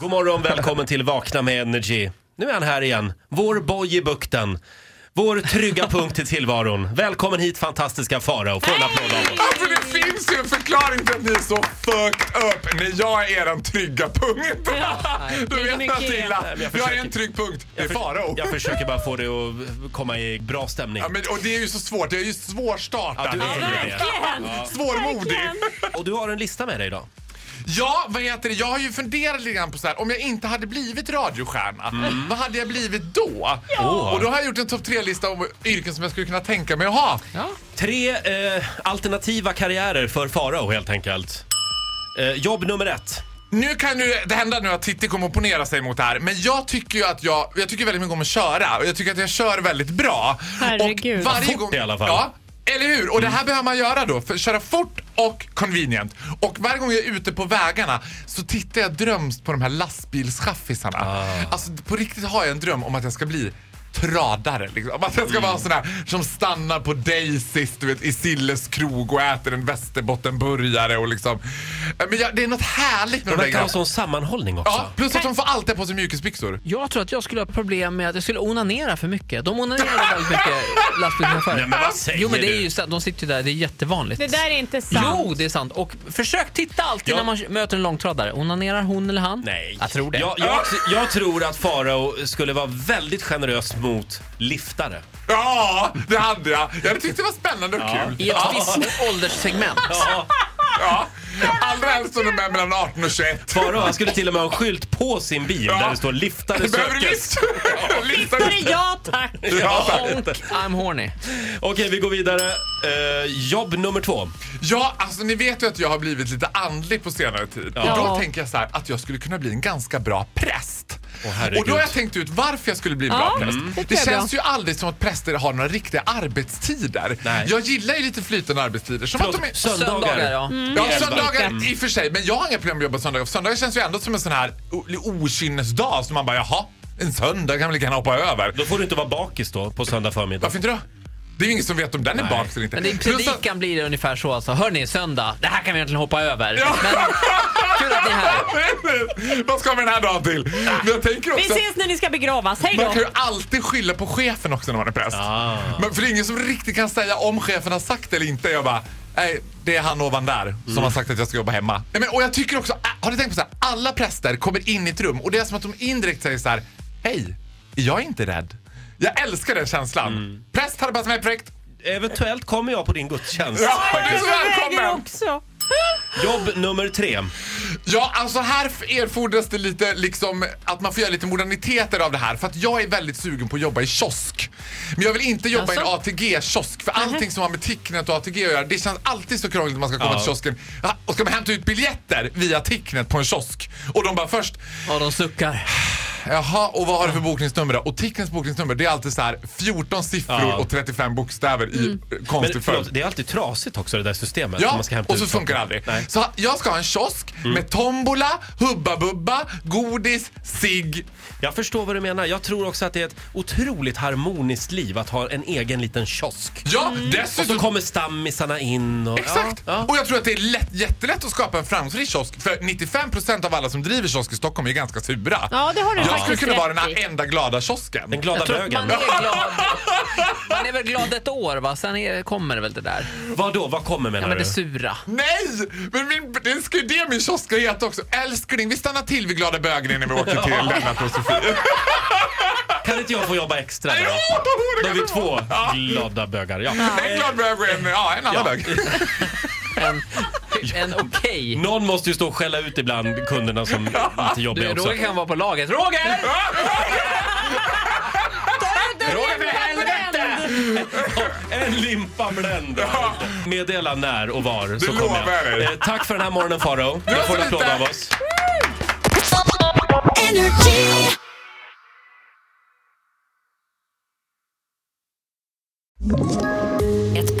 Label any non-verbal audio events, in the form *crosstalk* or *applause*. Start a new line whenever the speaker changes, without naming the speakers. God morgon, välkommen till Vakna med Energy. Nu är han här igen, vår boj i bukten. Vår trygga punkt i tillvaron. Välkommen hit fantastiska Farao. Få en applåd av oss.
Alltså det finns ju en förklaring till att ni är så fucked up när jag är den trygga punkten.
det
du
är
vet
mycket
Matilda,
jag
jag är
försöker-
en trygg punkt. Det är Farao.
Jag försöker bara få dig att komma i bra stämning.
Ja, men, och det är ju så svårt, jag är ju
Ja,
svårstartad.
du är ju det.
Verkligen!
Svårmodig.
Och du har en lista med dig idag.
Ja, vad heter det? Jag har ju funderat lite grann på så här, om jag inte hade blivit radiostjärna,
Mm.
vad hade jag blivit då?
Åh.
Och då har jag gjort en topp tre-lista om yrken som jag skulle kunna tänka mig att ha.
Tre eh, alternativa karriärer för Farao helt enkelt. Eh, jobb nummer ett.
Nu kan ju det hända nu att Titti kommer opponera sig mot det här, men jag tycker ju att jag, jag tycker väldigt mycket om att köra och jag tycker att jag kör väldigt bra.
Herregud.
Och varje
Fort
gång,
i alla fall.
Ja, eller hur? Och det här behöver man göra då, för köra fort och convenient. Och varje gång jag är ute på vägarna så tittar jag drömst på de här lastbilschaffisarna.
Ah.
Alltså på riktigt har jag en dröm om att jag ska bli tradare liksom. Om Att jag ska vara en sån här som stannar på Daisys du vet, i Silles krog och äter en västerbottenburgare och liksom. Men jag, det är något
De
härligt med de
verkar
där
ha
grejerna.
sån sammanhållning också.
Ja, plus att de får alltid på sig mjukisbyxor.
Jag tror att jag skulle ha problem med att jag skulle onanera för mycket. De onanerar
*laughs*
väldigt mycket lastbilschaufförer.
Nej, men vad säger
Jo men det är
du?
ju sant, de sitter ju där, det är jättevanligt.
Det där är inte sant.
Jo, det är sant. Och försök titta alltid
Ja.
när man möter en långtradare. Onanerar hon eller han?
Nej.
Jag tror det.
Jag, jag, jag tror att Farao skulle vara väldigt generös mot liftare.
Ja, det hade jag. Jag tyckte det var spännande och kul.
I ett visst ålderssegment.
Ja. Allra helst om de är mellan 18 och 21.
Farao, han skulle till och med ha en skylt på sin bil
Ja.
där det står liftare
Du behöver
sökes.
*laughs* lyfta. Lyfta
Då är det ja tack!
Ja, tack.
Honk, I'm horny.
Okej, vi går vidare. Eh, jobb nummer två.
ja, alltså ni vet ju att jag har blivit lite andlig på senare tid. Och då
Ja.
tänker jag så här att jag skulle kunna bli en ganska bra präst.
herregud.
och då har jag tänkt ut varför jag skulle bli en bra
Ja,
präst.
mm. det
Det,
tror jag
känns ju aldrig som att präster har några riktiga arbetstider.
Nej.
Jag gillar ju lite flytande arbetstider. Som att de är...
Söndagar.
Söndagar ja.
Mm.
Ja,
Elva.
söndagar i och för sig. Men jag har inga problem med att jobba söndagar. Söndagar känns ju ändå som en sån här o- okynnesdag som man bara jaha, en söndag kan vi lika gärna hoppa över.
Då får du inte vara bakis då på söndag förmiddag.
Varför inte då? Det är ju ingen som vet om den är bakis eller inte.
Men din
Plus att-
predikan blir det ungefär så alltså. Hörni, söndag. Det här kan vi egentligen hoppa över.
Ja.
Men kul att ni är här.
Vad ska vi den här dagen till? Men jag tänker
Vi
också att
ses när ni ska begravas, hej
man
då!
kan ju alltid skylla på chefen också när man är präst. Men för det är ingen som riktigt kan säga om chefen har sagt det eller inte. Jag bara, nej, det är han ovan där som har sagt att jag ska jobba hemma. Nej, men, och jag tycker också, äh, har du tänkt på så här, alla präster kommer in i ett rum och det är som att de indirekt säger så här, hej, jag är inte rädd. Jag älskar den känslan. Präst hade passat mig perfekt.
Eventuellt kommer jag på din gudstjänst.
Ja, du är så
Jag väger
välkommen!
också.
Jobb nummer tre.
Ja, alltså här erfordras det lite liksom att man får göra lite moderniteter av det här. För att jag är väldigt sugen på att jobba i kiosk. Men jag vill inte jobba i en
Jaså?
ATG-kiosk. För allting som har med Ticknet och ATG att göra, det känns alltid så krångligt när man ska komma
Ja.
till kiosken. Ja, Och ska man hämta ut biljetter via Ticknet på en kiosk? Och de bara först,
Ja, de suckar.
jaha, och vad har du för bokningsnummer då? Och Ticknets bokningsnummer, det är alltid så här 14 siffror
Ja.
och 35 bokstäver i eh,
Men,
konstig följd.
förlåt, det är alltid trasigt också det där systemet. när
Ja,
man ska hämta
och så
ut
funkar det
saker.
aldrig.
Nej. Mm.
Så jag ska ha en kiosk med tombola, Hubba Bubba, godis, cigg.
Jag förstår vad du menar. Jag tror också att det är ett otroligt harmoniskt liv att ha en egen liten kiosk.
Ja,
Mm. Och så
dessutom...
kommer stammisarna in och...
Exakt!
Ja, ja.
Och jag tror att det är lätt, jättelätt att skapa en framgångsrik kiosk. För 95% av alla som driver kiosk i Stockholm är ganska sura.
Ja, det har du
jag skulle
faktiskt
kunna vara den
rätt i.
här enda glada kiosken.
Den glada
Jag tror att
bögen.
man är glad. Man är väl glad ett år va, sen är, kommer väl det där.
Vad då? Vad kommer menar
Ja men det
du?
sura.
Nej! Men min, det ska ju det min kiosk ska heta också. Älskling, vi stannar till vid glada bögen innan vi åker till Lennart och Sofie.
Kan inte jag få jobba extra då?
Jo, det
Då
kan
är vi
du
två
få. Ja.
glada bögar. Ja. Eh,
En glad bög och en, ja, en annan bög.
En, en okej.
Någon måste ju stå och skälla ut ibland kunderna som inte
Du,
jobbar också.
Roger kan vara på laget. Roger!
En limpa Blend! Meddela när och var så
Det
kommer
lovar jag
jag.
dig.
Eh, tack för den här morgonen Faro. Du
var
får en
så
applåd
lite.
av oss.
Energy.
Ett